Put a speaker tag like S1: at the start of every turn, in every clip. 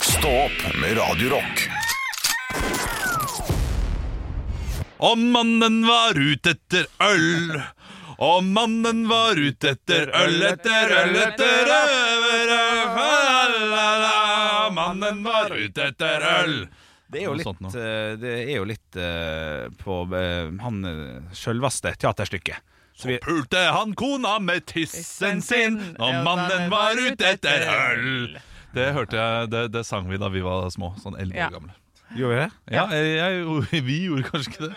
S1: Stå opp med Radio Rock.
S2: Og mannen var ute etter øl. Og mannen var ute etter øl etter øl etter øl. La-la-la. Mannen var ute etter øl.
S3: Det er jo
S2: Noe
S3: litt,
S2: sånt nå.
S3: eh, det er jo litt eh, på eh, han eh, sjølveste teaterstykket. Så vi,
S2: Så pulte han kona med tissen sin, og mannen var ute etter øl. Det hørte jeg, det, det sang vi da vi var små, sånn elleve
S4: Ja.
S2: år gamle.
S3: gjorde vi det?
S2: Ja, jeg, jeg, vi gjorde kanskje ikke det,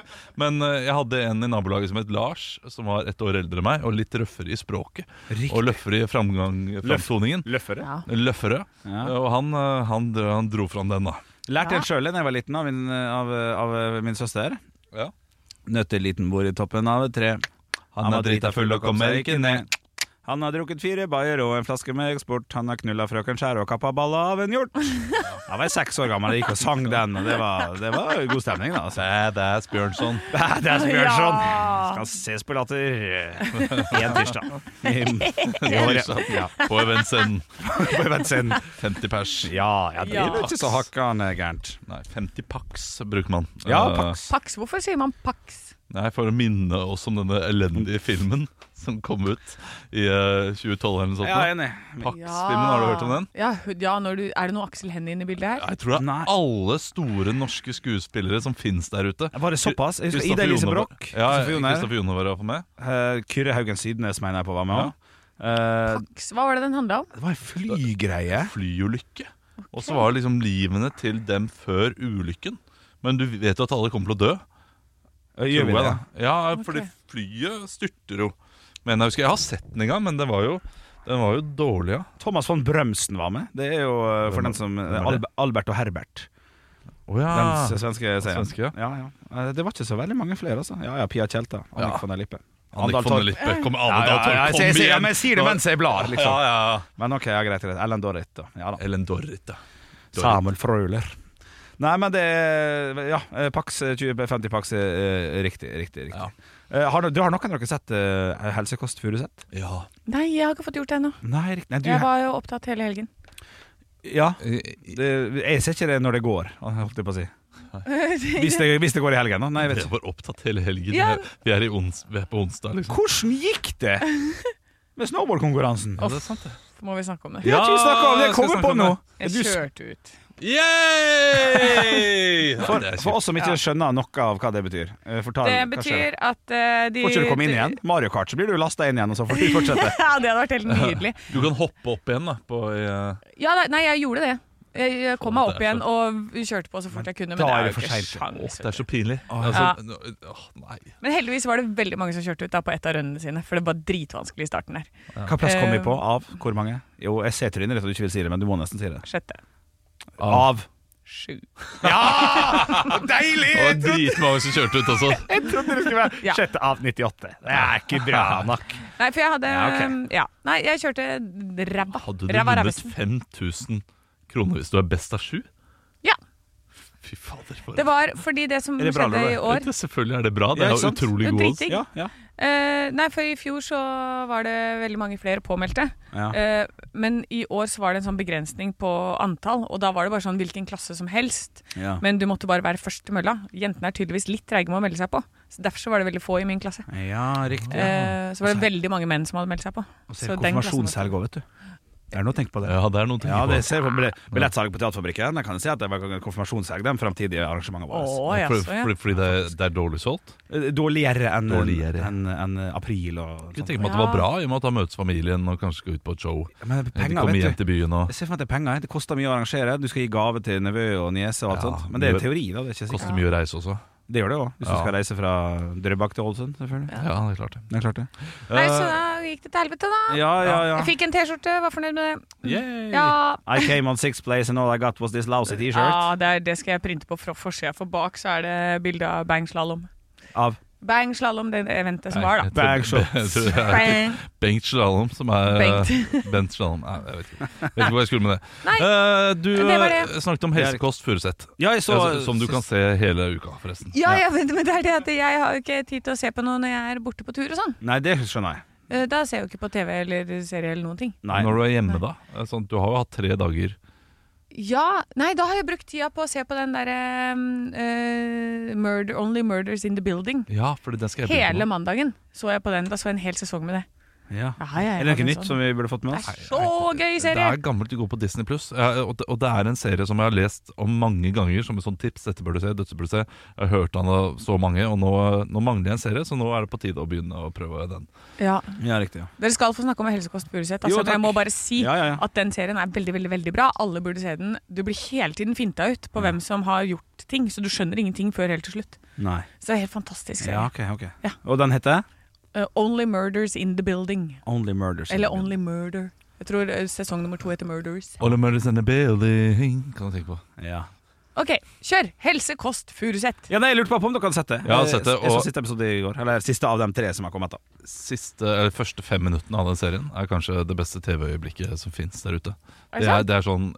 S2: men eh, jeg hadde en i nabolaget som het Lars, som var ett år eldre enn meg, og litt røffere i språket.
S3: Riktig.
S2: Og løffere i framgang, framtoningen.
S3: Løffere.
S4: Ja.
S2: Løffere.
S3: Ja.
S2: Og han, eh, han, dro- han dro fram den, da.
S3: Lærte
S4: Ja.
S3: den sjøl da jeg var liten av min, eh, av, av min søster.
S2: Ja.
S3: Nøtteliten bor i toppen av et tre.
S2: Han, er drita full og kommer ikke ned.
S3: Han har drukket fire bayer og en flaske med eksport. Han har knulla frøken Skjær og kappa balla av en hjort. Jeg var seks år gammel og gikk og sang den, og det var, det var god stemning, da. altså.
S2: Badass Bjørnson.
S3: Badass Bjørnson!
S4: Ja.
S3: sånn. Skal ses på latter én tirsdag. I
S2: På
S3: året. Ja,
S2: Evensen.
S3: på eventsen.
S2: 50 pers.
S3: Ja, ja, det er jo ikke så hakkende gærent.
S2: Nei, 50 paks bruker man.
S3: Ja,
S2: Eh,
S3: Pax.
S4: Pax, hvorfor sier man Pax?
S2: Nei, For å minne oss om denne elendige filmen som kom ut i eh, 2012 eller noe sånt.
S3: Ja, jeg er enig.
S2: Pax-filmen, har du hørt om den?
S4: Ja, hu- ja når du, er det noe Aksel Hennie inne i bildet her?
S2: Jeg tror det er
S3: Nei.
S2: alle store norske skuespillere som fins der ute.
S3: Var det såpass? Jeg husker
S2: Kristoffer
S3: Ida Elise
S2: Joner-
S3: Broch.
S2: Ja,
S3: Kristoffer Joner.
S2: Kristoffer Joner var iallfall med.
S3: Eh, Kyrre Haugen Sydnes mener jeg på var med òg.
S4: Pax, hva var det den handla om?
S3: det var en flygreie.
S2: Flyulykke. Og så var det liksom livene til dem før ulykken. Men du vet jo at alle kommer til å dø.
S3: Gjør vi
S2: tror jeg,
S3: det?
S2: da. Ja, fordi
S4: Ok.
S2: flyet styrter jo. Men jeg husker, jeg har sett den en gang, men den var jo, den var jo dårlig, ja.
S3: Thomas von Brømsen var med. Det er jo eh, for
S2: Hvem-
S3: den som
S2: er det?
S3: Albe- Albert og Herbert.
S2: Å ja.
S3: Den s- svenske serien.
S2: svenske, ja.
S3: Ja, ja. Eh, Det var ikke så veldig mange flere, altså. Ja ja, Pia Tjelta. Annik
S2: Ja.
S3: von der Lippe. Andal
S2: Annik von
S3: Torp.
S2: der Lippe. Kom,
S3: Ja,
S2: Andal
S3: ja,
S2: Torp,
S3: ja, jeg
S2: kom
S3: sier- sier-
S2: igjen.
S3: ja, men jeg sier det
S2: Nå-
S3: mens jeg blar, liksom.
S2: Ja, ja, ja.
S3: Men ok, ja, greit. greit. Ellen Dorrit, da. Ja, da.
S2: Ellen Dorrit, ja. Eh, Dorrit.
S3: Samuel Frøyler. Nei, men det er Ja, eh, Pax eh, 20, 50 Pax er eh, riktig. riktig, riktig.
S2: Ja.
S3: Eh, har, no- du, har noen av dere sett eh, Helsekost Furuseth?
S2: ja.
S4: Nei, jeg har ikke fått gjort det ennå.
S3: Nei, riktig. Nei, du,
S4: Jeg var jo opptatt hele helgen.
S3: ja.
S2: Eh,
S3: Det, jeg ser ikke det når det går, holdt jeg på å si. Hvis det, hvis det går i helgen, da. Nei, jeg vet
S2: Jeg
S3: ikke.
S2: var opptatt hele helgen.
S4: Ja.
S2: Vi er, i ons, vi er på onsdag, liksom.
S3: Hvordan gikk det med snowboardkonkurransen?
S2: Ja, det er sant, det.
S4: Må vi snakke om det?
S3: Ja, vi snakker om det. Jeg
S2: skal
S3: kommer
S2: snakke
S3: på
S2: om
S3: nå.
S4: Jeg
S3: Du,
S4: kjørte ut.
S2: Yay! Nei,
S3: for,
S2: det er
S3: for
S2: kjipt.
S3: oss som ikke skjønner noe av hva det betyr. eh, Fortal,
S4: Det
S3: hva skjer?
S4: betyr at eh, de
S3: Får ikke du komme inn igjen? Mario Kart, så blir du lasta inn igjen, og så får du fortsette.
S4: ja, det hadde vært helt nydelig.
S2: Du kan hoppe opp igjen, da. På, eh,
S4: Ja, nei, nei, jeg gjorde det. Jeg jeg kom meg opp igjen og kjørte på så fort jeg kunne. Men
S3: da
S4: det
S3: er
S4: er
S3: det
S4: jo
S3: for
S4: ikke
S3: sent.
S2: Åh,
S4: sjans.
S2: det er så pinlig.
S4: Ja.
S2: Altså, nå- åh, nei.
S4: Men heldigvis var det veldig mange som kjørte ut da på ett av rundene sine, for det var dritvanskelig i starten der.
S3: Hva plass kom vi på? Av hvor mange? Jo, jeg ser trynet ditt, og du ikke vil si det, men du må nesten si det.
S4: Sjette,
S2: Ah.
S3: Av.
S4: sju.
S3: Deilig!
S2: Det var dritmange som kjørte ut også.
S3: Jeg trodde det skulle være
S4: Ja.
S3: sjette av 98. Det er ikke bra nok.
S4: Nei, for jeg hadde
S3: Ja, ok.
S4: um, ja. Nei, jeg kjørte ræva.
S2: Hadde du
S4: Ræva
S2: vunnet
S4: rævesten.
S2: 5000 kroner hvis du er best av sju?
S4: Ja.
S2: Fy fader. for-
S4: Det var fordi det som
S3: Er det bra,
S4: skjedde i
S3: Lolle?
S4: år
S2: Dette, selvfølgelig er det bra. Det
S3: Ja,
S2: er jo
S3: ikke sant?
S2: utrolig
S4: Det er
S2: god odds.
S4: dritdigg.
S3: Ja, ja,
S4: Eh, Nei, for i fjor så var det veldig mange flere påmeldte.
S3: ja.
S4: Eh, men i år så var det en sånn begrensning på antall, og da var det bare sånn hvilken klasse som helst.
S3: Ja.
S4: Men du måtte bare være først til mølla. Jentene er tydeligvis litt treige med å melde seg på. Så Derfor så var det veldig få i min klasse.
S3: ja Altså. Eh, riktig.
S4: Eh, så var det veldig mange menn som hadde meldt seg på.
S3: Og så er det
S4: så den klassen måtte-
S3: konfirmasjonshelg òg, vet du. Det er noe å tenke på det.
S2: Ja, det er noe å tenke
S3: Ja, det
S2: på.
S3: ser jeg på bille- billettsalg på Teaterfabrikken. Jeg kan si at det var konfirmasjonshelg, de framtidige arrangementene våre.
S4: Å, ja,
S2: fordi,
S4: så, ja.
S2: fordi, fordi det, er- det er dårlig solgt?
S3: Eh, Dårligere enn
S2: Dårligere.
S3: enn- enn april og
S2: Jeg
S3: sånt.
S2: tenker meg at det var
S4: Ja.
S2: bra, i og med at da møtes familien og kanskje skal ut på et show.
S3: Men
S2: Eller
S3: penger,
S2: Komme hjem
S3: vet du.
S2: til byen og
S3: Jeg ser for meg at det er penger. Det koster mye å arrangere. Du skal gi gave til nevø og niese og alt
S2: Ja,
S3: sånt. Men det er
S2: det-
S3: teori, da. Det, er ikke sikkert.
S2: koster mye å reise også.
S3: det gjør det òg, hvis du
S2: Ja.
S3: skal reise fra Drøbak til Ålesund, selvfølgelig.
S2: Ja, det er klart det.
S3: Det er klart det.
S4: Nei, så
S2: Eh,
S4: da gikk det til helvete, da.
S3: Ja, ja, ja.
S4: Jeg fikk en T-skjorte, var fornøyd med det.
S2: yay.
S4: Ja.
S3: I came on sixth place and all I got was this lousy t-shirt.
S4: ja, det, er, det skal jeg printe på fra forsida, for bak så er det bilde av Bang Slalom.
S3: Av
S4: Bang Slalom, det eventet som
S2: Nei,
S4: var, da.
S2: jeg tror-
S3: Bang Shots.
S2: jeg tror det er-
S4: Bang.
S2: Bengt Slalom, som er
S4: Bengt.
S2: Bent Slalom. Nei, jeg vet ikke. vet ikke hva jeg skulle med det.
S4: Nei,
S2: Eh, du
S4: det var det.
S2: eh, snakket om helsekost Furuset,
S3: Ja, jeg så
S2: Altså, som du kan se hele uka, forresten.
S4: Ja, ja, men men det er det at jeg har jo ikke tid til å se på noe når jeg er borte på tur og sånn.
S3: Nei, det skjønner jeg.
S4: Eh, Da ser jeg jo ikke på TV eller serie eller noen ting.
S3: Nei.
S2: Når du er hjemme, da? Eh, Sånn, du har jo hatt tre dager
S4: Ja, nei, da har jeg brukt tida på å se på den derre murder, Only Murders in the Building.
S2: Ja, for den skal jeg begynne
S4: Hele
S2: på.
S4: mandagen så jeg på den. Da så jeg en hel sesong med det.
S3: Ja.
S4: Ja, ja, ja,
S3: Er det
S4: ja,
S3: noe nytt
S4: sånn.
S3: som vi burde fått med
S4: Det
S3: oss?
S4: er så gøy
S2: Det
S4: serie!
S2: er gammelt du går på Disney Pluss. Og det- og det er en serie som jeg har lest om mange ganger som et sånt tips. Dette bør du se, dette bør du se. Jeg har hørt den av så mange, og nå, nå mangler jeg en serie, så nå er det på tide å begynne å prøve den.
S4: Ja.
S3: Ja, riktig. Ja.
S4: Dere skal få snakke om Helsekost
S3: Jo,
S4: Furuseth, altså, men
S3: takk.
S4: jeg må bare si
S3: Ja, ja, ja.
S4: at den serien er veldig veldig, veldig bra. Alle burde se den. Du blir hele tiden finta ut på hvem som har gjort ting, så du skjønner ingenting før helt til slutt.
S3: Nei.
S4: Så det er helt fantastisk serie.
S3: Ja, ok, ok.
S4: Ja.
S3: Og den heter?
S4: Eh, Only Murders in the Building.
S3: Only Murders.
S4: Eller Only Murder. Jeg tror eh, sesong nummer to heter Murders.
S2: All the murders in the building, kan du tenke på.
S3: Ja.
S4: OK, kjør! Helse, kost, Furuseth.
S3: ja, nei, jeg lurte bare på om dere hadde sett det.
S2: Jeg har sett det,
S3: Jeg så
S2: og-
S3: siste episode i går. Eller siste av de tre som har kommet. da
S2: Siste, eller første fem minuttene av den serien er kanskje det beste TV-øyeblikket som fins der ute.
S4: Er
S2: Det
S4: det
S2: er,
S4: sant?
S2: det er sånn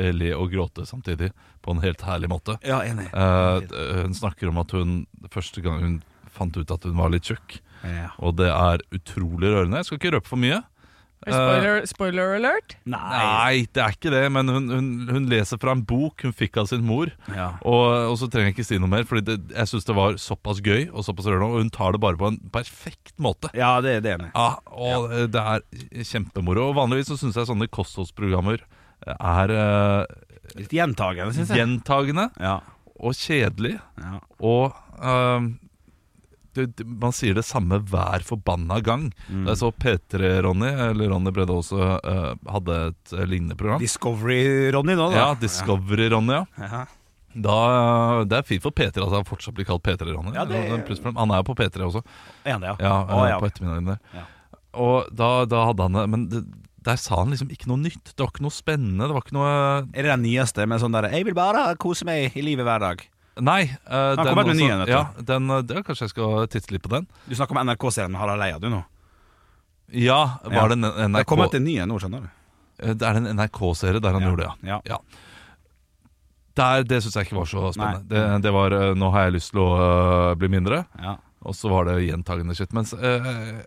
S2: eh, le og gråte samtidig, på en helt herlig måte.
S3: Ja, enig.
S2: Eh, hun snakker om at hun første gang hun fant ut at hun var litt tjukk,
S3: Ja.
S2: og det er utrolig rørende. Jeg skal ikke røpe for mye.
S4: Spoiler, spoiler alert.
S3: Nei.
S2: Nei, det er ikke det, men hun, hun, hun leser fra en bok hun fikk av sin mor.
S3: Ja.
S2: Og, og så trenger jeg ikke si noe mer, Fordi det, jeg syns det var såpass gøy og såpass rørende, og hun tar det bare på en perfekt måte.
S3: ja, det det er enig.
S2: Ja, Ah, og Det er kjempemoro. Og vanligvis så syns jeg sånne kostholdsprogrammer er eh,
S3: Litt gjentagende, syns jeg.
S2: gjentagende
S3: Ja.
S2: og kjedelig,
S3: ja.
S2: og eh, det, det, man sier det samme hver forbanna gang.
S3: Mm.
S2: Da jeg så P3-Ronny, eller Ronny Brede Aase, eh, hadde et eh, lignende program.
S3: Discovery-Ronny nå, da.
S2: Ja, Discovery-Ronny, ja.
S3: Ja.
S2: Da, eh, det er fint for P3 at han fortsatt blir kalt P3-Ronny.
S3: Ja, det-
S2: Han er jo på P3 også,
S3: Er han det,
S2: ja,
S3: Å, ja.
S2: på ettermiddagen der.
S3: Ja.
S2: Og da, da hadde han det, men det, der sa han liksom ikke noe nytt. Det var ikke noe spennende. Det var ikke noe
S3: Er det den nyeste med sånn derre 'Jeg vil bare kose meg i livet hver dag'?
S2: Nei. eh, den
S3: kommer med
S2: også-
S3: ny en, vet du.
S2: Ja, den, eh, det, kanskje jeg skal titte litt på den.
S3: Du snakker om NRK-serien med Harald Eia, du nå.
S2: Ja, var
S3: Ja.
S2: det en en
S3: Det
S2: NRK
S3: kommer til en ny en nå, skjønner du.
S2: Eh, Det er en NRK-serie der han gjorde det,
S3: ja.
S2: ja. Der, det syns jeg ikke var så spennende. Det, det var eh, 'nå har jeg lyst til å eh, bli mindre'.
S3: Ja.
S2: Og så var det gjentagende shit. Mens eh,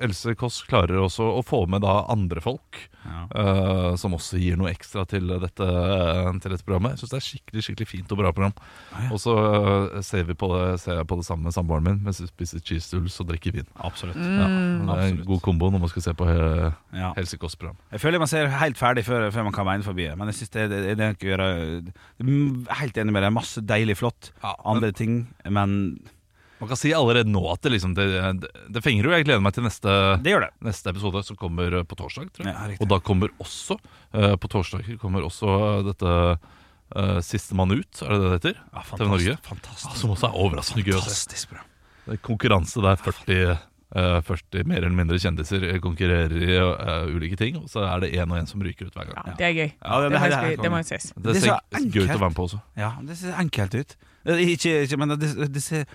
S2: Else Kåss klarer også å få med da andre folk,
S3: Ja.
S2: eh, som også gir noe ekstra til dette, eh, til dette programmet. Jeg syns det er skikkelig skikkelig fint og bra program. Og så eh, ser, vi på det, ser jeg på det samme med samboeren min mens vi spiser cheese doodles og drikker vin.
S3: Absolutt.
S2: Ja,
S4: Mm,
S2: det er en
S3: Mm, Absolutt.
S2: god kombo når man skal se på he
S3: Ja.
S2: helsekostprogram.
S3: Jeg føler man ser helt ferdig før, før man kan veien forbi. Men jeg synes det, det, det er ikke å gjøre Mm, Helt enig med deg. Masse deilig flott.
S2: Ja, men-
S3: Andre ting. Men
S2: Man kan si allerede nå at det, liksom, det, det, det fenger jo. Jeg gleder meg til neste
S3: det gjør det.
S2: Neste episode som kommer eh, på torsdag, tror jeg.
S3: Ja, riktig.
S2: og da kommer også eh, på torsdag kommer også eh, dette eh, Sistemann ut, er det det det heter?
S3: Ja,
S2: TV Norge. Ah, Ja,
S3: Fantastisk,
S2: som også er overraskende gøy å se.
S3: fantastisk bra.
S2: Det er Konkurranse der 40, eh, 40 mer eller mindre kjendiser eh, konkurrerer i eh, ulike ting, og så er det én og én som ryker ut hver
S4: Ja,
S2: gang.
S4: det er gøy.
S3: Ja, det-
S4: det, må
S3: det-
S4: jeg
S3: det-
S4: skri- det må jo ses.
S2: Det
S3: Det er
S2: ser
S3: så
S2: gøy ut
S3: enkelt.
S2: å være med på også.
S3: Ja, det ser enkelt ut. Eh, Ikke, ikke men det, det ser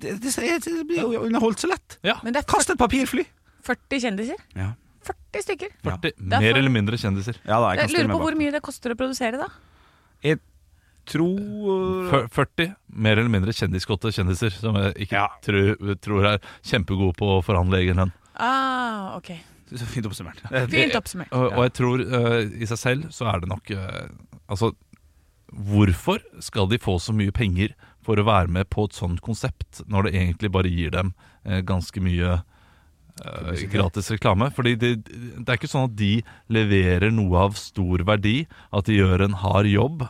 S3: det, det, ser, det blir jo underholdt så lett.
S2: Ja,
S4: Men det er
S3: Kast et papirfly!
S4: 40 kjendiser.
S3: Ja,
S4: 40 stykker.
S2: 40
S4: er for-
S2: mer eller mindre kjendiser.
S3: ja da, jeg
S4: Jeg
S3: kan stille
S4: lurer
S3: meg
S4: på hvor
S3: bak.
S4: mye det koster å produsere, da.
S3: Tro eh,
S2: Fyr- 40 mer eller mindre kjendiskåte kjendiser, som jeg ikke
S3: Ja.
S2: tror, tror er kjempegode på å forhandle egen lønn.
S4: Ah, ok.
S3: Så fint oppsummert.
S4: Fint oppsummert.
S2: Og, og jeg tror eh, i seg selv så er det nok eh, Altså, hvorfor skal de få så mye penger for å være med på et sånt konsept, når det egentlig bare gir dem eh, ganske mye eh, gratis reklame? Fordi det, det er ikke sånn at de leverer noe av stor verdi, at de gjør en hard jobb.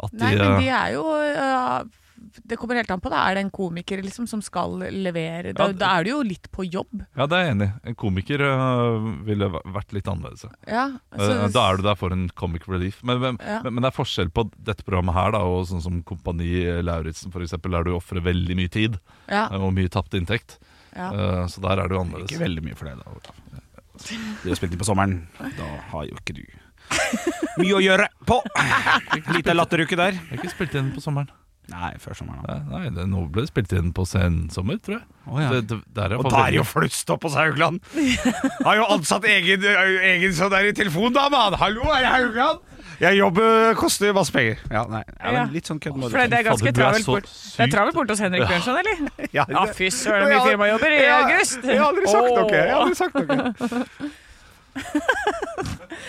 S2: At de,
S4: Nei, men de
S2: eh,
S4: er jo øh, Det kommer helt an på. da Er det en komiker liksom som skal levere?
S2: Ja,
S4: Da,
S2: det-
S4: da er du jo litt på jobb.
S2: Ja, det er jeg enig i. En komiker eh, ville væ- vært litt annerledes.
S4: Ja,
S2: Eh, Da er du der for en comic relief. Men, men,
S4: Ja.
S2: men, men det er forskjell på dette programmet her da, og sånn som Kompani Lauritzen, for eksempel, der du ofrer veldig mye tid
S4: ja,
S2: eh, og mye tapt inntekt.
S4: ja.
S2: Eh, Så der er det jo
S3: Ikke
S2: annerledes.
S3: veldig mye for det, da. Olav. Du har spilt inn på sommeren. Da har jo ikke du mye å gjøre på! Lita latteruke der.
S2: Jeg har ikke spilt inn på sommeren.
S3: Nei, før sommeren. da.
S2: Nei, nei det, Nå ble det spilt inn på sensommer, tror jeg. Det, det, der er
S3: Og
S2: jeg
S3: da er
S2: veldig-
S3: jo flust opp hos Haugland! Har jo ansatt egen, egen sånn der i telefondame! han. Hallo, er jeg Haugland? Jeg jobber koster masse penger. Ja, nei. Ja,
S4: Ja.
S3: men litt sånn kødd må
S4: For det, det er ganske
S2: Fader, du er
S4: travelt
S2: så
S4: bort. Det er
S2: sykt-
S4: travelt borte hos Henrik Bjørnson, eller?
S3: Ja,
S4: Ja, fy søren, mye firmajobber i
S3: Ja,
S4: august!
S3: Jeg har aldri sagt noe. Jeg har
S4: Åh.
S3: aldri sagt noe.
S2: Jeg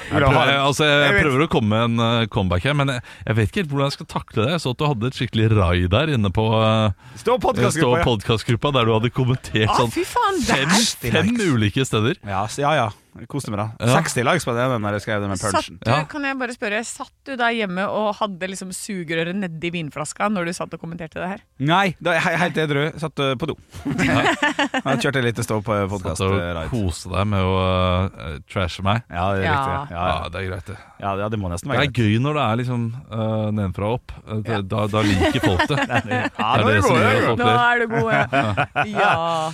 S3: Vil du ha
S2: prøver,
S3: det?
S2: altså, jeg
S3: Jeg vet.
S2: prøver å komme med en eh, comeback her, men jeg, jeg vet ikke helt hvordan jeg skal takle det. Jeg så at du hadde et skikkelig rai der inne på uh,
S3: Stå podcastgruppa, ja.
S2: podkastgruppa, der du hadde kommentert
S4: Å,
S2: sånn
S4: Ah, fy faen!
S2: fem,
S4: Der
S2: fem ulike steder.
S3: Ja, s- ja, ja. Jeg Koste meg, da.
S2: Ja.
S3: 60 likes på den den der jeg skrev det med
S4: satt
S3: punchen.
S4: du,
S2: Ja.
S4: kan jeg bare spørre, satt du der hjemme og hadde liksom sugerøret nedi vinflaska når du satt og kommenterte det her?
S3: Nei, da er jeg he- helt edru. Satt uh, på do. Jeg kjørte litt stå på
S2: Satt
S3: podkast.
S2: og
S3: Ja,
S2: koste deg med å eh, trashe meg.
S3: det er
S4: Ja.
S3: riktig. Ja,
S2: Ja,
S3: ja.
S2: det er greit, det.
S3: ja, ja det må nesten
S2: Det
S3: være
S2: er gøy når det er liksom eh, nedenfra og opp. Eh, det- Da, da liker folk det. Det
S3: Ja,
S2: er det som gjør at folk
S4: Nå
S2: ler.
S4: er du god, ja. ja.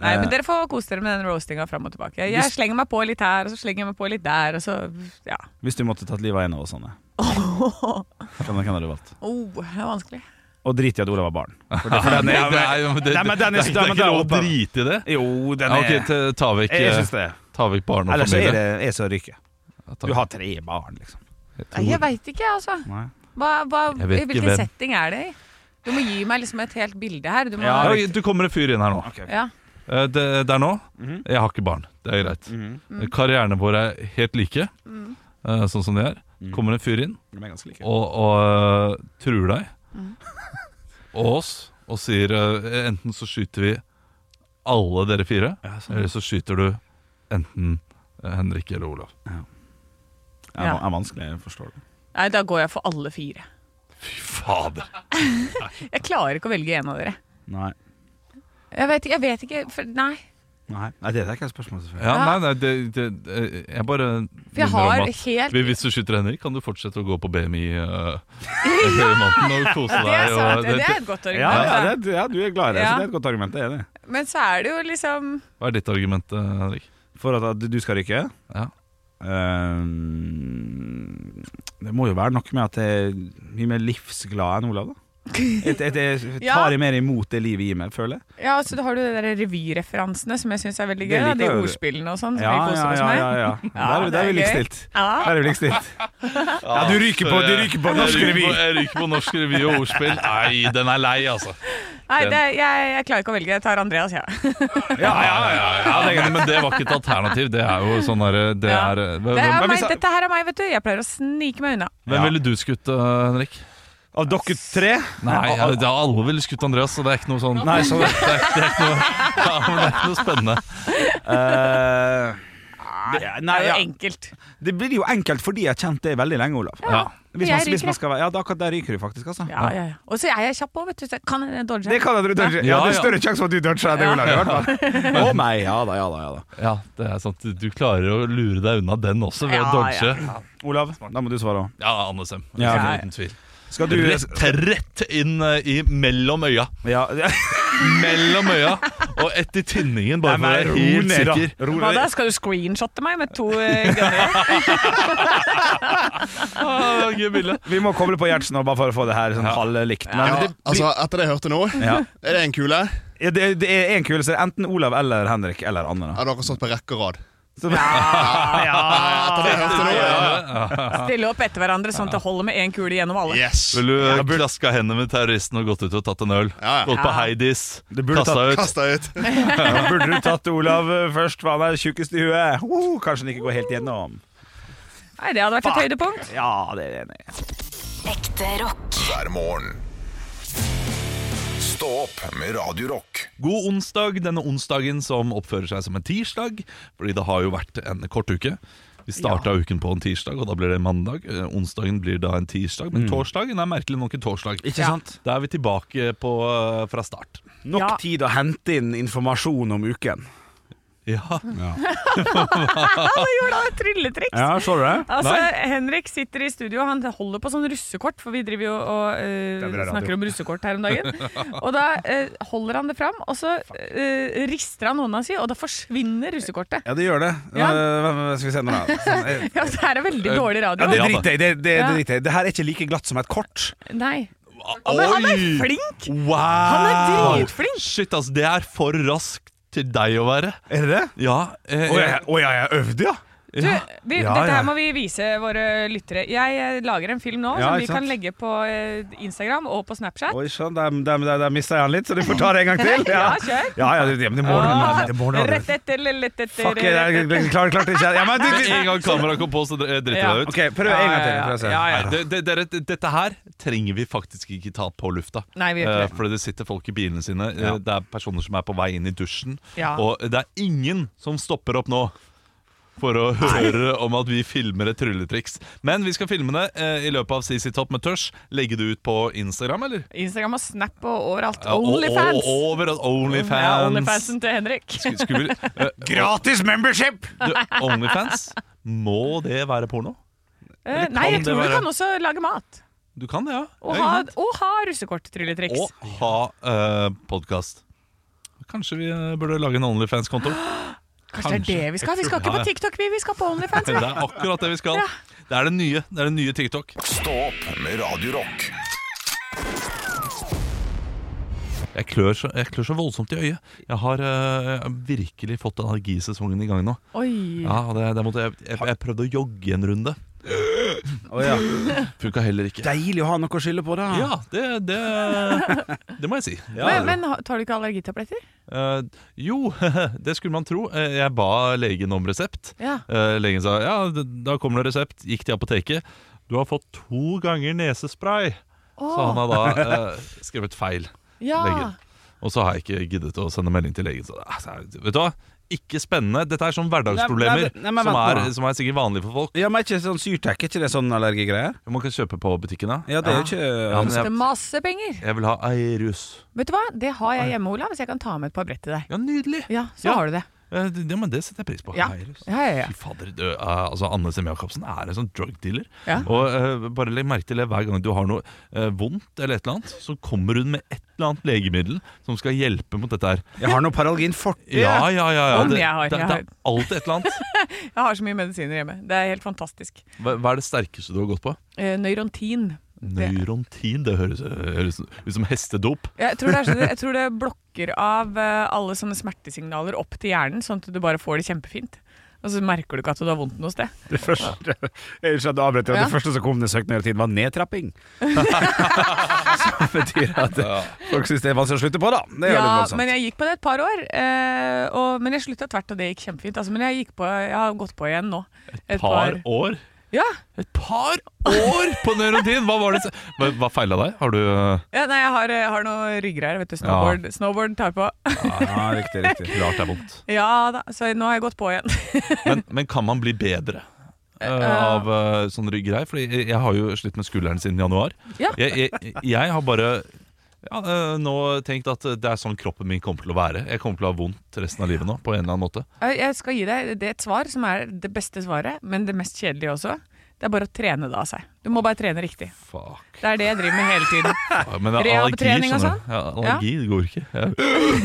S4: Nei, men Dere får kose dere med den roastinga fram og tilbake. Jeg slenger meg på litt her, og så slenger jeg meg på litt der, og så ja.
S3: Hvis du måtte tatt livet av en av oss, Anne, hvem hvem hadde du valgt?
S4: Oh, det er vanskelig.
S3: Og drit i at Olav var barn. For det- for
S2: Nei,
S3: den
S2: det
S3: er-
S2: er jo- det- det- det
S3: Nei, men den er-
S2: er
S3: den er
S2: ikke lov å
S3: oppe.
S2: drite i det.
S3: Jo, den
S2: Ja,
S3: er
S2: ok, ta- ta vekk,
S3: Jeg, jeg
S2: eh,
S3: syns det.
S2: ta vekk barn og
S3: Ellers så er
S2: familie.
S3: det jeg så ryker.
S2: Ja, ta
S3: Du
S2: vekk.
S3: har tre barn, liksom.
S4: Nei, jeg veit ikke, altså.
S3: Nei.
S4: Hva, hva,
S2: Jeg vet
S4: i
S2: ikke
S4: hvilken
S2: hvem.
S4: setting er det i? Du må gi meg liksom et helt bilde her. Du må,
S3: Ja,
S2: Ja, du kommer en fyr inn her nå.
S3: Ok.
S4: ja.
S2: Eh, Det, det er nå.
S3: Mhm.
S2: Jeg har ikke barn. Det er greit.
S4: Mm.
S2: Karrierene våre er helt like, eh, sånn som de er.
S3: Mm.
S2: Kommer en fyr inn
S3: De er ganske like.
S2: og, og eh, truer deg
S4: Mm.
S2: og oss og sier eh, enten så skyter vi alle dere fire, eller så skyter du enten eh, Henrik eller Olav.
S3: Det er, er vanskelig, jeg forstår det.
S4: Nei, da går jeg for alle fire.
S2: Fy fader!
S4: Jeg klarer ikke å velge en av dere.
S3: Nei.
S4: Jeg vet, ikke- jeg vet ikke for, Nei.
S3: Nei, Nei det er ikke et spørsmål, selvfølgelig.
S2: Ja, nei,
S4: Ja.
S2: nei, det, det, eh, jeg bare
S4: For jeg
S2: minner om
S4: har
S2: at-
S4: helt
S2: Hvis du skyter Henrik, kan du fortsette å gå på BMI eh, en hel måned og kose deg.
S4: Det er
S2: og-
S4: sant. Det er et godt
S3: Ja,
S4: argument.
S3: ja,
S4: da.
S3: det, er- ja, du er glad i det,
S4: Ja.
S3: så det er et godt argument. Det er det.
S4: Men så er det jo liksom
S2: Hva er ditt argument, eh, Henrik?
S3: For at at du skal ryke?
S2: Ja.
S3: Ehm, det må jo være noe med at jeg er mye mer livsglad enn Olav, da.
S4: liksom-
S3: Jeg, jeg, jeg
S4: Ja.
S3: tar jeg mer imot det livet gir meg, føler jeg.
S4: Ja, så da har du de der revyreferansene som jeg syns er
S3: Det
S4: veldig gøy. da.
S3: liker
S4: De
S3: jeg jo.
S4: ordspillene og sånn. som
S3: Ja,
S4: vi koser
S3: ja,
S4: oss
S3: ja,
S4: med.
S3: ja, ja. Der, er- der er vi
S4: det er gøy.
S3: likestilt. Der
S4: Ja.
S3: er vi likestilt. Ja, du ryker på, du ryker på norsk
S2: Jeg ryker
S3: revy.
S2: på- Jeg ryker på norsk revy og ordspill. Nei, den er lei, altså.
S4: Nei, det, jeg, jeg klarer ikke å velge. Jeg tar Andreas, jeg. Ja.
S3: Ja, ja, ja.
S2: Ja, men, men det var ikke et alternativ. Det er jo sånn derre det
S4: Ja.
S2: er,
S3: eh,
S4: Det er
S2: hvem,
S3: hvis
S4: meg,
S3: jeg-
S4: dette her er meg, vet du. Jeg pleier å snike meg unna.
S2: hvem ville du skutt, eh, Henrik?
S3: Av dere tre?
S2: Nei,
S3: Av- av-
S2: det er alle ville skutt Andreas, så det er ikke noe sånn
S3: Nei, så-
S2: det, er, det, er ikke noe, ja, men det er ikke noe spennende.
S3: Eh, det, nei,
S4: Det er jo
S3: ja.
S4: enkelt.
S3: det blir jo enkelt fordi jeg har kjent det veldig lenge, Olav.
S2: Ja.
S3: Hvis
S4: jeg
S3: man, hvis
S4: ryker.
S3: man skal være, ja, da, akkurat der ryker du faktisk, altså.
S4: Ja, ja, ja. Og så er jeg kjapp òg, vet du. Så jeg kan en dodge.
S3: Det kan jeg tro. dodge. Ja,
S2: Ja,
S3: det
S2: ja.
S3: er større sjanse for at du dodger enn det Olav gjør, i hvert fall. Å nei, ja da, ja da, ja da.
S2: Ja, det er sant. Du klarer å lure deg unna den også ved å
S4: Ja,
S2: dodge.
S3: Olav, da må du svare òg.
S2: Ja, Anne Sem.
S3: Ja.
S2: Altså, Uten tvil.
S3: Skal du
S2: Rett, rett inn eh, i mellom øya.
S3: Ja,
S2: Mellom øya og etter tinningen, bare for å være helt sikker.
S3: Ro
S4: Hva
S3: ned.
S4: da? Skal du screenshotte meg med to eh, gunner?
S2: Ah, gøy bilde.
S3: Vi må koble på Gjertsen nå, bare for å få det her sånn halvlikt. Men
S5: Ja,
S3: det,
S5: altså, etter det jeg hørte nå,
S3: Ja.
S5: er det en kule.
S3: ja, det, det er én kule, så det er enten Olav eller Henrik eller Anne. Da.
S5: Hadde dere stått på rekke og rad.
S3: Så, ja,
S5: Etter det jeg hørte nå, ja.
S4: Stille opp etter hverandre sånn at det holder med én kule gjennom alle.
S5: Yes.
S2: Vil du eh, klaska hendene med terroristen og gått ut og tatt en øl?
S5: Ja, ja.
S2: Gått på
S4: Ja.
S2: Heidis,
S3: Du burde
S2: kasta
S3: tatt-
S2: ut.
S5: Kast deg ut.
S3: Da burde du tatt Olav eh, først, for han er tjukkest i huet. Oh, kanskje han ikke går helt gjennom.
S4: Nei, det hadde vært et høydepunkt.
S3: Ja, det er jeg enig. i.
S6: Ekte rock.
S1: hver morgen. Stå opp med Radio Rock.
S2: God onsdag, denne onsdagen som oppfører seg som en tirsdag, fordi det har jo vært en kort uke. Vi starta uken på en tirsdag, og da blir det mandag. Eh, Onsdagen blir da en tirsdag,
S4: Mm.
S2: men torsdagen er merkelig nok en torsdag.
S3: Ikke sant?
S2: Da er vi tilbake på, eh, fra start.
S3: Nok
S4: Ja.
S3: tid å hente inn informasjon om uken.
S2: Ja,
S4: Alle gjorde da et trylletriks.
S3: Ja, så du det?
S4: Altså, Henrik sitter i studio, han holder på sånn russekort, for vi driver jo og eh,
S3: Det er bra radio.
S4: snakker om russekort her om dagen. Og da eh, holder han det fram, og så eh, rister han hånda si, og da forsvinner russekortet.
S3: Ja, det gjør det.
S4: Ja.
S3: Eh, hva skal vi se nå, da? Sånn, eh,
S4: Ja, det her er veldig dårlig
S3: Ja, det
S4: radio.
S2: Ja, da.
S3: driter jeg i. Det, det, det,
S4: Ja.
S3: driter jeg i. det her er ikke like glatt som et kort.
S4: Nei.
S2: Oi!
S4: men han er flink!
S2: Wow!
S4: Han er dritflink!
S2: Shit, altså, det er for raskt til deg å være.
S3: Er det det?
S2: Ja, eh,
S3: Å ja, jeg- å, ja, jeg øvde, ja!
S4: Du, vi,
S2: Ja,
S4: dette
S2: ja.
S4: her må vi vise våre lyttere. Jeg eh, lager en film nå
S3: Ja,
S4: som
S3: ikke
S4: vi
S3: sant?
S4: kan legge på eh, Instagram og på Snapchat.
S3: Oi sann, der, der, der, der mista jeg han litt, så du får ta det en gang til.
S4: Ja, kjør.
S3: Ja, ja, det, ja, men det må du.
S4: Ah,
S3: Det må du.
S4: Rett etter, lett etter
S3: Fuck, jeg, jeg, jeg, jeg klarte klarte ikke ja, men, du,
S2: eh, Med
S3: du,
S2: en gang kameraet kom på, så dr- eh, driter
S4: Ja.
S2: jeg det ut.
S3: OK, prøv en gang til.
S4: Ja, ja,
S3: Prøv å se.
S4: ja, ja.
S2: Nei, det, det, dere, det- dette her trenger vi faktisk ikke ta på lufta.
S4: Nei, vi gjør ikke
S2: Eh,
S4: det.
S2: fordi det sitter folk i bilene sine. eh,
S3: Ja.
S2: Det er personer som er på vei inn i dusjen.
S4: Ja.
S2: Og det er ingen som stopper opp nå for å høre om at vi filmer et trylletriks. Men vi skal filme det eh, i løpet av CC Topp med tørs. Legge det ut på Instagram, eller?
S4: Instagram og Snap og overalt.
S2: Ja, og-
S4: Onlyfans!
S2: Og, over at
S4: Ja,
S2: Onlyfans.
S4: Onlyfansen til Henrik.
S2: Skulle- skulle vi- eh,
S3: Gratis membership!
S2: du, Onlyfans, må det være porno?
S4: Eh, Nei, jeg
S2: det
S4: tror du
S2: være-
S4: kan også lage mat.
S2: Du kan det, ja.
S4: Og
S2: Ja,
S4: ha,
S2: ikke sant?
S4: og ha russekort-trylletriks.
S2: og ha uh, podkast. Kanskje vi eh, burde lage en Onlyfans-konto?
S4: Kanskje det er det vi skal? Vi skal ikke
S2: Ja,
S4: på
S2: ja.
S4: TikTok, vi. Vi skal på Onlyfans.
S2: Det
S4: vi.
S2: er akkurat det vi skal.
S4: Ja.
S2: Det er det nye, det er det nye TikTok.
S1: Stå opp med Radio Rock.
S2: Jeg klør så, jeg klør så voldsomt i øyet. Jeg har eh, virkelig fått energisesongen i gang nå.
S4: Oi.
S2: Ja, og det, det måtte, jeg, jeg, jeg prøvde å jogge en runde. Funka heller ikke.
S3: Deilig å ha noe å skylde på, da.
S2: Ja, det, det, det må jeg si.
S4: Men, men ha- tar du ikke allergitabletter?
S2: Eh, jo, det skulle man tro. Eh, jeg ba legen om resept.
S4: Ja.
S2: Eh, legen sa ja, d- da kommer det resept. Gikk til apoteket. Du har fått to ganger nesespray. Så han har da eh, skrevet feil.
S4: ja.
S2: legen. Og så har jeg ikke giddet å sende melding til legen. Så, altså, vet du hva? Ikke spennende. Dette er sånn hverdagsproblemer
S3: Nei, nei, nei, men
S2: som,
S3: vent
S2: er,
S3: nå.
S2: som er sikkert vanlige for folk.
S3: Ja, men er ikke sånn syrtek, er ikke det sånn allergigreier?
S2: Man kan kjøpe på butikken,
S3: Ja, det er jo ikke
S2: Ja, men
S4: Koster
S2: jeg,
S4: masse penger.
S2: jeg vil ha Eirus.
S4: Vet du hva? Det har jeg hjemme, Olav, så jeg kan ta med et par brett til deg.
S2: Ja, nydelig.
S4: Ja, så
S2: Ja.
S4: har du det.
S2: Eh, det- ja, men det setter jeg pris på.
S4: Ja.
S2: Eirus.
S4: Ja, ja, ja.
S2: Fy fader, du, eh, altså Anne Sem Jacobsen er en sånn drug dealer.
S4: Ja.
S2: Og eh, bare legg merke til det hver gang du har noe eh, vondt eller et eller annet, så kommer hun med et eller annet legemiddel som skal hjelpe mot dette her.
S3: Jeg har noe Paralgin Forte.
S2: Ja, ja, ja. ja.
S4: Om
S2: Det,
S4: jeg har,
S2: det,
S4: jeg
S2: det er alltid et eller annet.
S4: Jeg har så mye medisiner hjemme. Det er helt fantastisk.
S2: Hva, hva er det sterkeste du har gått på?
S4: Eh, Nøyrontin. Det-
S2: Neurontin, det høres, høres ut som hestedop.
S4: Jeg tror, det er sånn, jeg tror det blokker av eh, alle sånne smertesignaler opp til hjernen, sånn at du bare får det kjempefint. Og så merker du ikke at du har vondt noe sted.
S3: Det første, jeg skjønner, avbrøt, jeg,
S4: Ja.
S3: det første som kom ned søkt ned tid, var nedtrapping. Som betyr at folk syns det er vanskelig å slutte på, da. Det er jo litt
S4: Ja,
S3: voldsomt.
S4: men jeg gikk på det et par år, eh, og, men jeg slutta tvert, og det gikk kjempefint. Altså, men jeg, gikk på, jeg har gått på igjen nå. Et
S2: Par år?
S4: Ja,
S2: Et par år på neurontin! Hva var det se- Hva, hva feila deg? Har du eh,
S4: ja Nei, jeg har, jeg har noe ryggreier, vet du. Snowboard, snowboard tar på.
S3: Ja, riktig, riktig.
S2: Rart det er vondt.
S4: Ja da, så nå har jeg gått på igjen.
S2: Men, men kan man bli bedre eh, av eh, sånn ryggreier? Fordi jeg- jeg har jo slitt med skulderen siden januar.
S4: Ja.
S2: Jeg, jeg, jeg har bare ja, eh, nå tenkt at det er sånn kroppen min kommer til å være. Jeg kommer til å ha vondt resten av livet nå, på en eller annen måte.
S4: Jeg jeg skal gi deg det et svar som er det beste svaret, men det mest kjedelige også. Det er bare å trene det av seg. Du må bare trene riktig.
S2: Fuck.
S4: Det er det jeg driver med hele tiden.
S2: Men allergi,
S4: Rehabilitering og
S2: skjønner
S4: sånn?
S2: du. Ja, allergi det går ikke. Jeg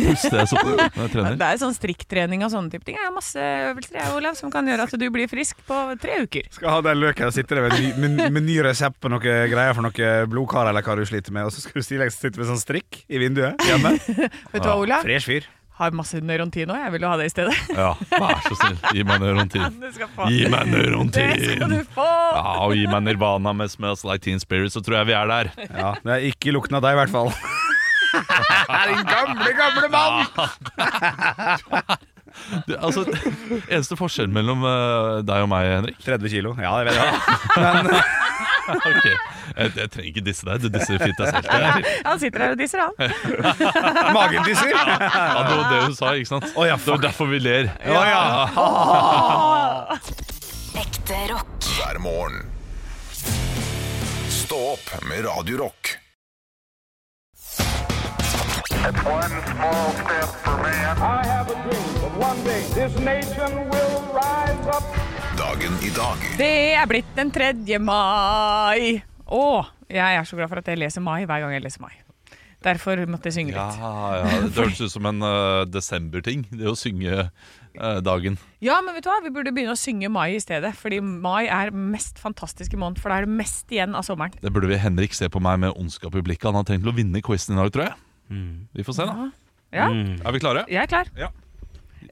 S2: puster jeg sånn når jeg trener.
S4: Det er sånn strikktrening og sånne type ting. Jeg har masse øvelser jeg, Olav, som kan gjøre at du blir frisk på tre uker.
S3: Skal ha den løken og sitte der med, ny- med, med ny resept på noe greier for noe blodkar eller hva du sliter med, og så skal du stille sitte med sånn strikk i vinduet hjemme.
S4: Vet du hva, Olav?
S3: Fresh fyr.
S4: Har masse Neurontin òg. Jeg vil jo ha det i stedet.
S2: Ja, vær så snill, gi meg neurontin.
S4: Du skal få.
S2: Gi meg
S4: Det skal du
S2: neurontin!
S4: få!
S2: Ja, og gi meg Nirvana med Smells Like Teen Spirit, så tror jeg vi er der.
S3: Ja, det er ikke lukten av deg, i hvert fall. Den gamle, gamle mann!
S2: Du, altså, eneste forskjellen mellom eh, deg og meg, Henrik
S3: 30 kilo. Ja, det vet jeg.
S2: Ok, jeg, jeg trenger ikke disse deg, du disser fint deg selv. Det er fint.
S4: Han sitter her og disser, han.
S3: Magen tisser. Å
S2: Ja, det var det hun sa, ikke sant?
S3: ja,
S2: Det var derfor vi ler.
S3: ja.
S6: Ekte rock.
S1: hver morgen. Stå opp med Radio Rock.
S7: One small step for man. I have a dream that one day this nation will rise up.
S1: Dagen i dag
S4: Det er blitt den 3. mai. Å, jeg er så glad for at jeg leser mai hver gang jeg leser mai. Derfor måtte jeg synge
S2: Ja,
S4: litt.
S2: ja, det høres ut som en eh, desember-ting, det å synge eh, dagen.
S4: Ja, men vet du hva? Vi burde begynne å synge mai i stedet. Fordi mai er mest fantastiske måned, for da er det mest igjen av sommeren.
S2: Det burde vi Henrik se på meg med ondskap i blikket. Han har tenkt til å
S4: Mm.
S2: vinne quizen i dag, tror jeg. Vi får se, da.
S4: Ja,
S2: Er vi klare?
S4: jeg er klar.
S2: Mm. Ja,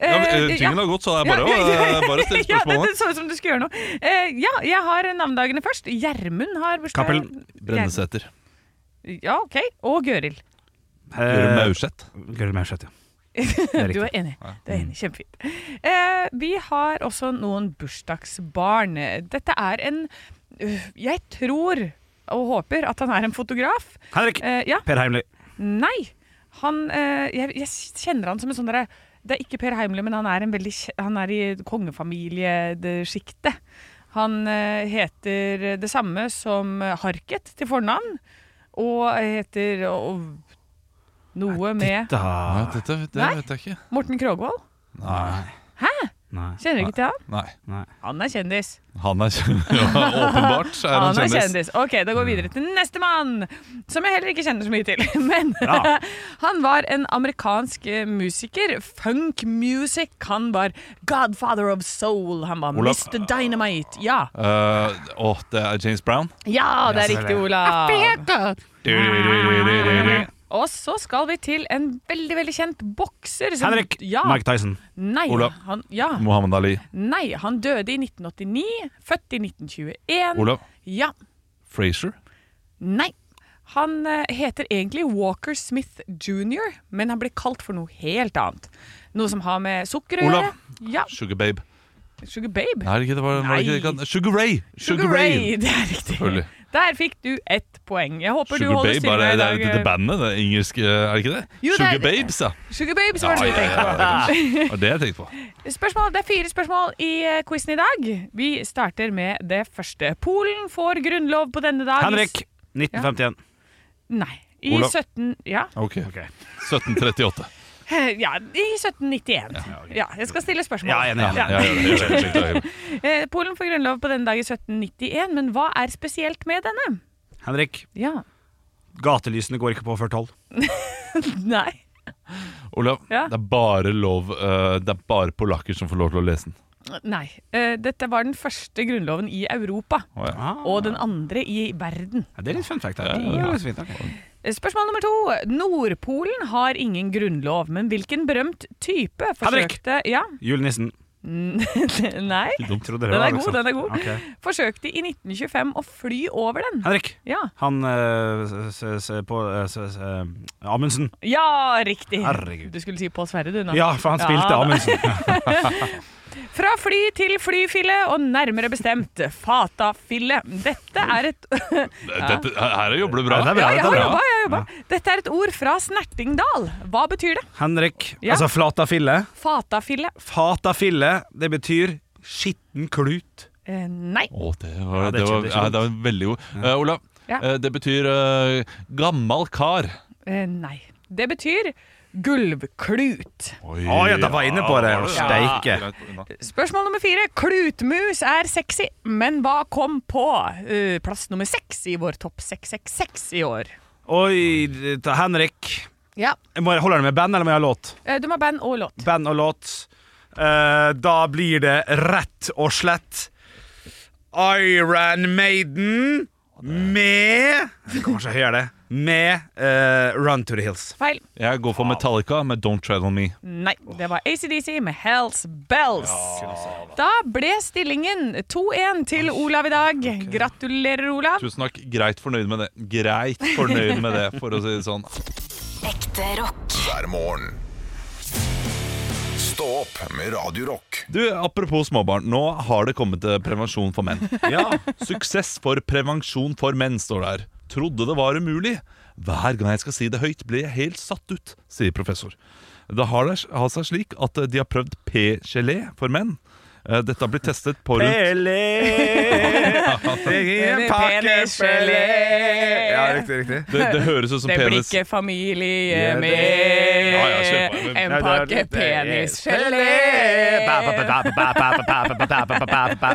S2: men,
S4: Eh,
S2: eh, tingen
S4: ja.
S2: har gått, så det er bare, å- eh, bare å stille
S4: ja, det,
S2: spørsmålene.
S4: det så ut som du skulle gjøre noe. Eh, ja, jeg har navnedagene først. Gjermund har bursdag.
S3: Cappelen.
S2: Brennesæter.
S4: Ja, ok. Og Gøril.
S2: Gjør
S3: Eh,
S2: Maurseth.
S3: Gøril Maurseth, ja. Det er
S4: Du
S3: riktig.
S4: er enig. Du er enig. Kjempefint. Eh, vi har også noen bursdagsbarn. Dette er en øh, Jeg tror og håper at han er en fotograf.
S3: Henrik.
S4: Eh, ja.
S3: Per Heimly.
S4: Nei. Han eh, jeg, jeg kjenner han som en sånn derre Det er ikke Per Heimly, men han er, en veldig, kje- han er i kongefamiliesjiktet. Han eh, heter det samme som Harket til fornavn, og heter og, noe med
S2: Nei,
S3: Da
S2: dette, det
S4: Nei.
S2: vet jeg ikke.
S4: Morten Krogvold.
S2: Nei.
S3: Nei.
S4: Kjenner du ikke til han?
S2: Nei.
S4: Han er kjendis.
S2: Han er kjendis. Ja, åpenbart er han,
S4: Han er
S2: kjendis.
S4: kjendis. Ok, da går vi videre til neste mann, som jeg heller ikke kjenner så mye til. Men
S3: Ja.
S4: han var en amerikansk eh, musiker. Funk music. Han var godfather of soul. Han var
S2: Olav.
S4: Mr. Dynamite. Ja,
S2: Eh, Åh, det er James Brown.
S4: ja det er
S3: selvfølgelig.
S4: riktig, Olav. Og så skal vi til en veldig veldig kjent bokser. som-
S3: Henrik.
S4: Ja,
S3: Mike Tyson.
S4: nei,
S2: Olav.
S4: Han, ja,
S2: Mohammed Ali.
S4: nei, han døde i 1989. Født i 1921.
S2: Olav.
S4: Ja,
S2: Frazier.
S4: Nei. Han eh, heter egentlig Walker Smith jr., men han blir kalt for noe helt annet. Noe som har med sukker å
S2: Olav.
S4: gjøre. Ja,
S2: Sugar Babe.
S4: Sugar Babe.
S2: Nei, det er ikke det var, var det ikke, det
S4: Nei.
S2: kan- Sugar Ray!
S4: Sugar, Ray. Det er riktig.
S2: Selvfølgelig.
S4: Der fikk du ett poeng. Jeg håper du
S2: Sugar
S4: holder
S2: Babe, er det,
S4: styringa i
S2: det,
S4: dag. eh,
S2: det, det bandet? Det engelske, er det ikke det?
S4: Jo, det er-
S2: Sugar Babes, ja.
S4: eh, Sugar Babe, så var
S2: Ja, ja,
S4: det det du
S2: ja,
S4: tenkte på.
S2: det var det jeg tenkte på.
S4: Spørsmål, Det er fire spørsmål i eh, quizen i dag. Vi starter med det første. Polen får grunnlov på denne dag. i s-
S3: Henrik. 1951.
S4: Nei. I
S2: Olav.
S4: 17... Ja.
S2: Ok, 1738.
S4: ja, i 1791. Ja, jeg skal stille spørsmål.
S3: Ja, jeg er enig.
S2: Ja, ja, ja, ja, ja, ja, ja.
S4: Eh, Polen får grunnlov på denne dag i 1791, men hva er spesielt med denne?
S3: Henrik.
S4: Ja,
S3: Gatelysene går ikke på før tolv.
S4: nei
S2: Olav,
S4: Ja.
S2: det er bare lov eh, Det er bare polakker som får lov til å lese den.
S4: Nei, Eh, dette var den første grunnloven i Europa
S2: Å, ja.
S4: Og den andre i verden
S3: Ja, det er litt fun fact. her.
S2: Ja.
S3: Det er litt fint, da.
S4: Eh, Spørsmål nummer to Nordpolen har ingen grunnlov, men hvilken berømt type
S3: Henrik!
S4: forsøkte Ja,
S3: Julenissen.
S4: nei
S3: Trodde det
S4: Den
S3: var
S4: er god,
S3: liksom-
S4: den er god
S3: Ok.
S4: Forsøkte i 1925 å fly over den
S3: Henrik.
S4: Ja,
S3: Han eh, s, s, s, på eh, s, s, eh, Amundsen.
S4: ja riktig
S3: Herregud.
S4: Du skulle si Pål Sverre du nå
S3: Ja, for han
S4: Ja,
S3: spilte
S4: da.
S3: Amundsen.
S4: Fra fly til flyfille, og nærmere bestemt fatafille. Dette er et
S2: Dette, her jobber du bra.
S3: Ja, det er
S4: Ja,
S3: bra.
S4: jeg
S3: dette
S4: har
S3: er bra.
S4: jobba, jeg har jobba. Dette er et ord fra Snertingdal. Hva betyr det?
S3: Henrik.
S4: Ja.
S3: Altså flatafille.
S4: Fatafille.
S3: Fatafille, det betyr skitten klut.
S4: Eh, nei.
S2: Å, det var,
S3: Ja, det
S2: det var,
S3: kjennes
S2: ja,
S3: godt.
S2: det var veldig god. Eh, Olav,
S4: Ja.
S2: eh, det betyr eh, gammal kar.
S4: Eh, nei. Det betyr gulvklut.
S2: Oi,
S3: Å, ja, da var jeg inne på det. Å, steike.
S4: Spørsmål nummer fire. Klutmus er sexy, men hva kom på eh, plass nummer seks i vår topp 666 i år?
S3: Oi, det- Henrik.
S4: Ja.
S3: Jeg må- Holder det med band, eller må jeg ha låt?
S4: Eh, du må ha band og låt.
S3: Band og låt. Eh, da blir det rett og slett Iron Maiden med Jeg kan kanskje høyere det. Med eh, Run to the Hills.
S4: Feil.
S2: Jeg går for Metallica med Don't Tread On Me.
S4: Nei, det var ACDC med Hells Bells. Da ble stillingen 2-1 til Olav i dag. Gratulerer, Olav.
S2: Tusen takk. Greit fornøyd med det. Greit fornøyd med det, for å si det sånn.
S6: Ekte rock.
S1: hver morgen. Stå opp med Radio Rock.
S2: Du, Apropos småbarn. Nå har det kommet eh, prevensjon for menn.
S3: Ja.
S2: Suksess for prevensjon for menn, står det her. Trodde det var umulig. Hver gang jeg skal si det høyt, blir jeg helt satt ut, sier professor. Det har det har seg slik at eh, de har prøvd p-gelé for menn. Eh, Dette har blitt testet på rundt
S3: Pelle
S4: Penisgelé.
S3: Ja, riktig, riktig.
S2: Det, det høres ut som
S4: Det blir
S2: penis.
S4: ikke
S3: Ja,
S4: familie
S3: det-
S2: Ja, ja, kjør på.
S4: med en
S3: Ja,
S4: pakke
S3: det- det-
S4: penisgelé.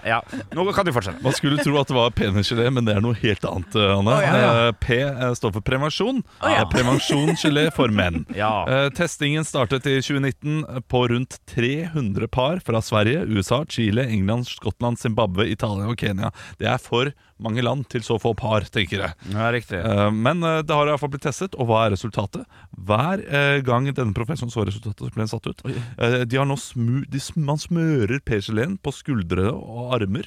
S3: Ja. Nå kan du fortsette.
S2: Man skulle tro at det var penisgelé, men det er noe helt annet. eh, Anne. Eh, P eh, står for prevensjon.
S4: Å, ja.
S2: Eh, Prevensjonsgelé for menn.
S3: Ja.
S2: Eh, Testingen startet i 2019 på rundt 300 par fra Sverige, USA, Chile, England, Skottland, Zimbabwe, Italia og Kenya. Det er for mange land til så få par, tenker jeg.
S3: Ja, riktig.
S2: Eh, Men eh, det har i hvert fall blitt testet, og hva er resultatet? Hver eh, gang denne professoren så resultatet, så ble den satt ut. Eh, De har nå smu, de, sm- man smører persilin på skuldre og armer.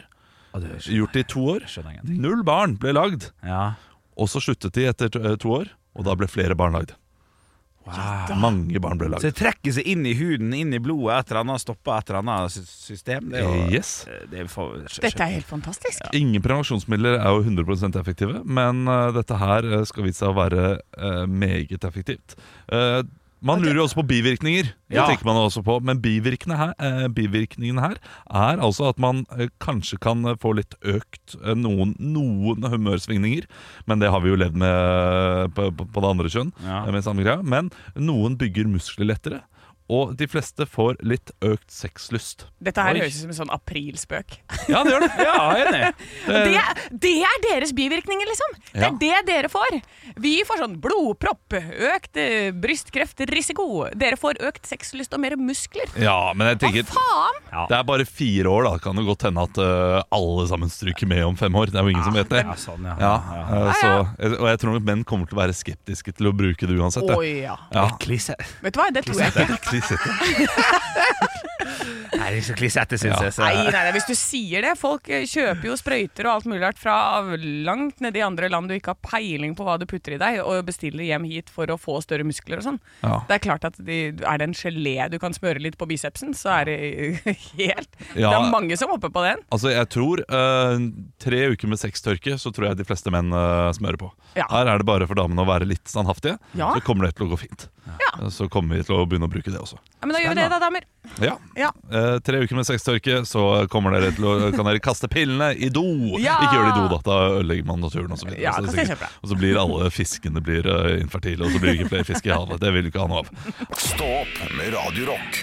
S3: Ja, du skjønner-
S2: Gjort det i to år.
S3: skjønner jeg ingenting.
S2: Null barn ble lagd,
S3: Ja.
S2: og så sluttet de etter eh, to år, og da ble flere barn lagd. Mange barn ble
S3: Så
S2: lagd.
S3: det trekker seg inn i huden, inn i blodet, et eller annet, stopper et eller annet sy- system. Det er jo,
S2: Eh, Yes.
S3: det er for,
S4: Dette er helt fantastisk.
S2: Ingen prevensjonsmidler er jo 100 effektive, men eh, dette her eh, skal vise seg å være eh, meget effektivt. Eh, man lurer jo også på bivirkninger, det
S3: Ja.
S2: tenker man også på, men bivirkningene her, eh, bivirkningen her er altså at man eh, kanskje kan eh, få litt økt eh, noen, noen humørsvingninger, men det har vi jo levd med eh, på, på, på det andre kjønn.
S3: Ja.
S2: eh, Med samme greia. Men noen bygger muskler lettere, og de fleste får litt økt sexlyst.
S4: Dette her
S3: Oi.
S4: høres ut som en sånn aprilspøk.
S3: Ja, det gjør det. Ja, jeg er enig.
S2: Eh,
S4: Det, det er deres bivirkninger, liksom! Det er det dere får. Vi får sånn blodpropp, økt eh, brystkreftrisiko. Dere får økt sexlyst og mer muskler.
S2: Ja, men jeg
S4: Hva
S2: tenker
S4: faen?
S2: Det er bare fire år, da. Kan det godt hende at eh, alle sammen stryker med om fem år. Det er jo ingen som vet det.
S3: Ja, sånn, ja.
S2: Ja,
S3: ja.
S2: eh, så, og jeg tror nok menn kommer til å være skeptiske til å bruke det uansett.
S4: Å
S2: jeg.
S4: ja.
S2: Ja.
S3: Klisse.
S4: Vet du hva, det tror jeg ikke.
S2: Klissete.
S3: Nei, det er så klissete, syns jeg. Så.
S4: Nei, nei, nei, hvis du sier det Folk eh, kjøper jo sprøyter og alt mulig rart fra langt nede i andre land du ikke har peiling på hva du putter i deg, og bestiller hjem hit for å få større muskler og sånn.
S2: Ja.
S4: Det er klart at de, Er det en gelé du kan smøre litt på bicepsen, så er det helt Det
S2: Ja.
S4: er mange som hopper på den.
S2: Altså, jeg tror eh, tre uker med sextørke, så tror jeg de fleste menn eh, smører på.
S4: Ja.
S2: Her er det bare for damene å være litt standhaftige,
S4: Ja.
S2: så kommer det til å gå fint.
S4: Ja.
S2: Så kommer vi til å begynne å bruke det også.
S4: Ja, men da gjør vi det, da, damer.
S2: Ja.
S4: Ja.
S2: Eh, tre uker med sextørke, så kommer dere til å, kan dere kaste pillene i do.
S4: Ja!
S2: Ikke gjør det i do, da. Da ødelegger man naturen. Og så, videre.
S4: Ja,
S2: så, det
S4: kast det
S2: er sikkert-
S4: kjempebra.
S2: og så blir alle fiskene blir eh, infertile, og så blir det ikke flere fisk i havet. Det vil du ikke ha noe av.
S1: Stå opp med Radio Rock.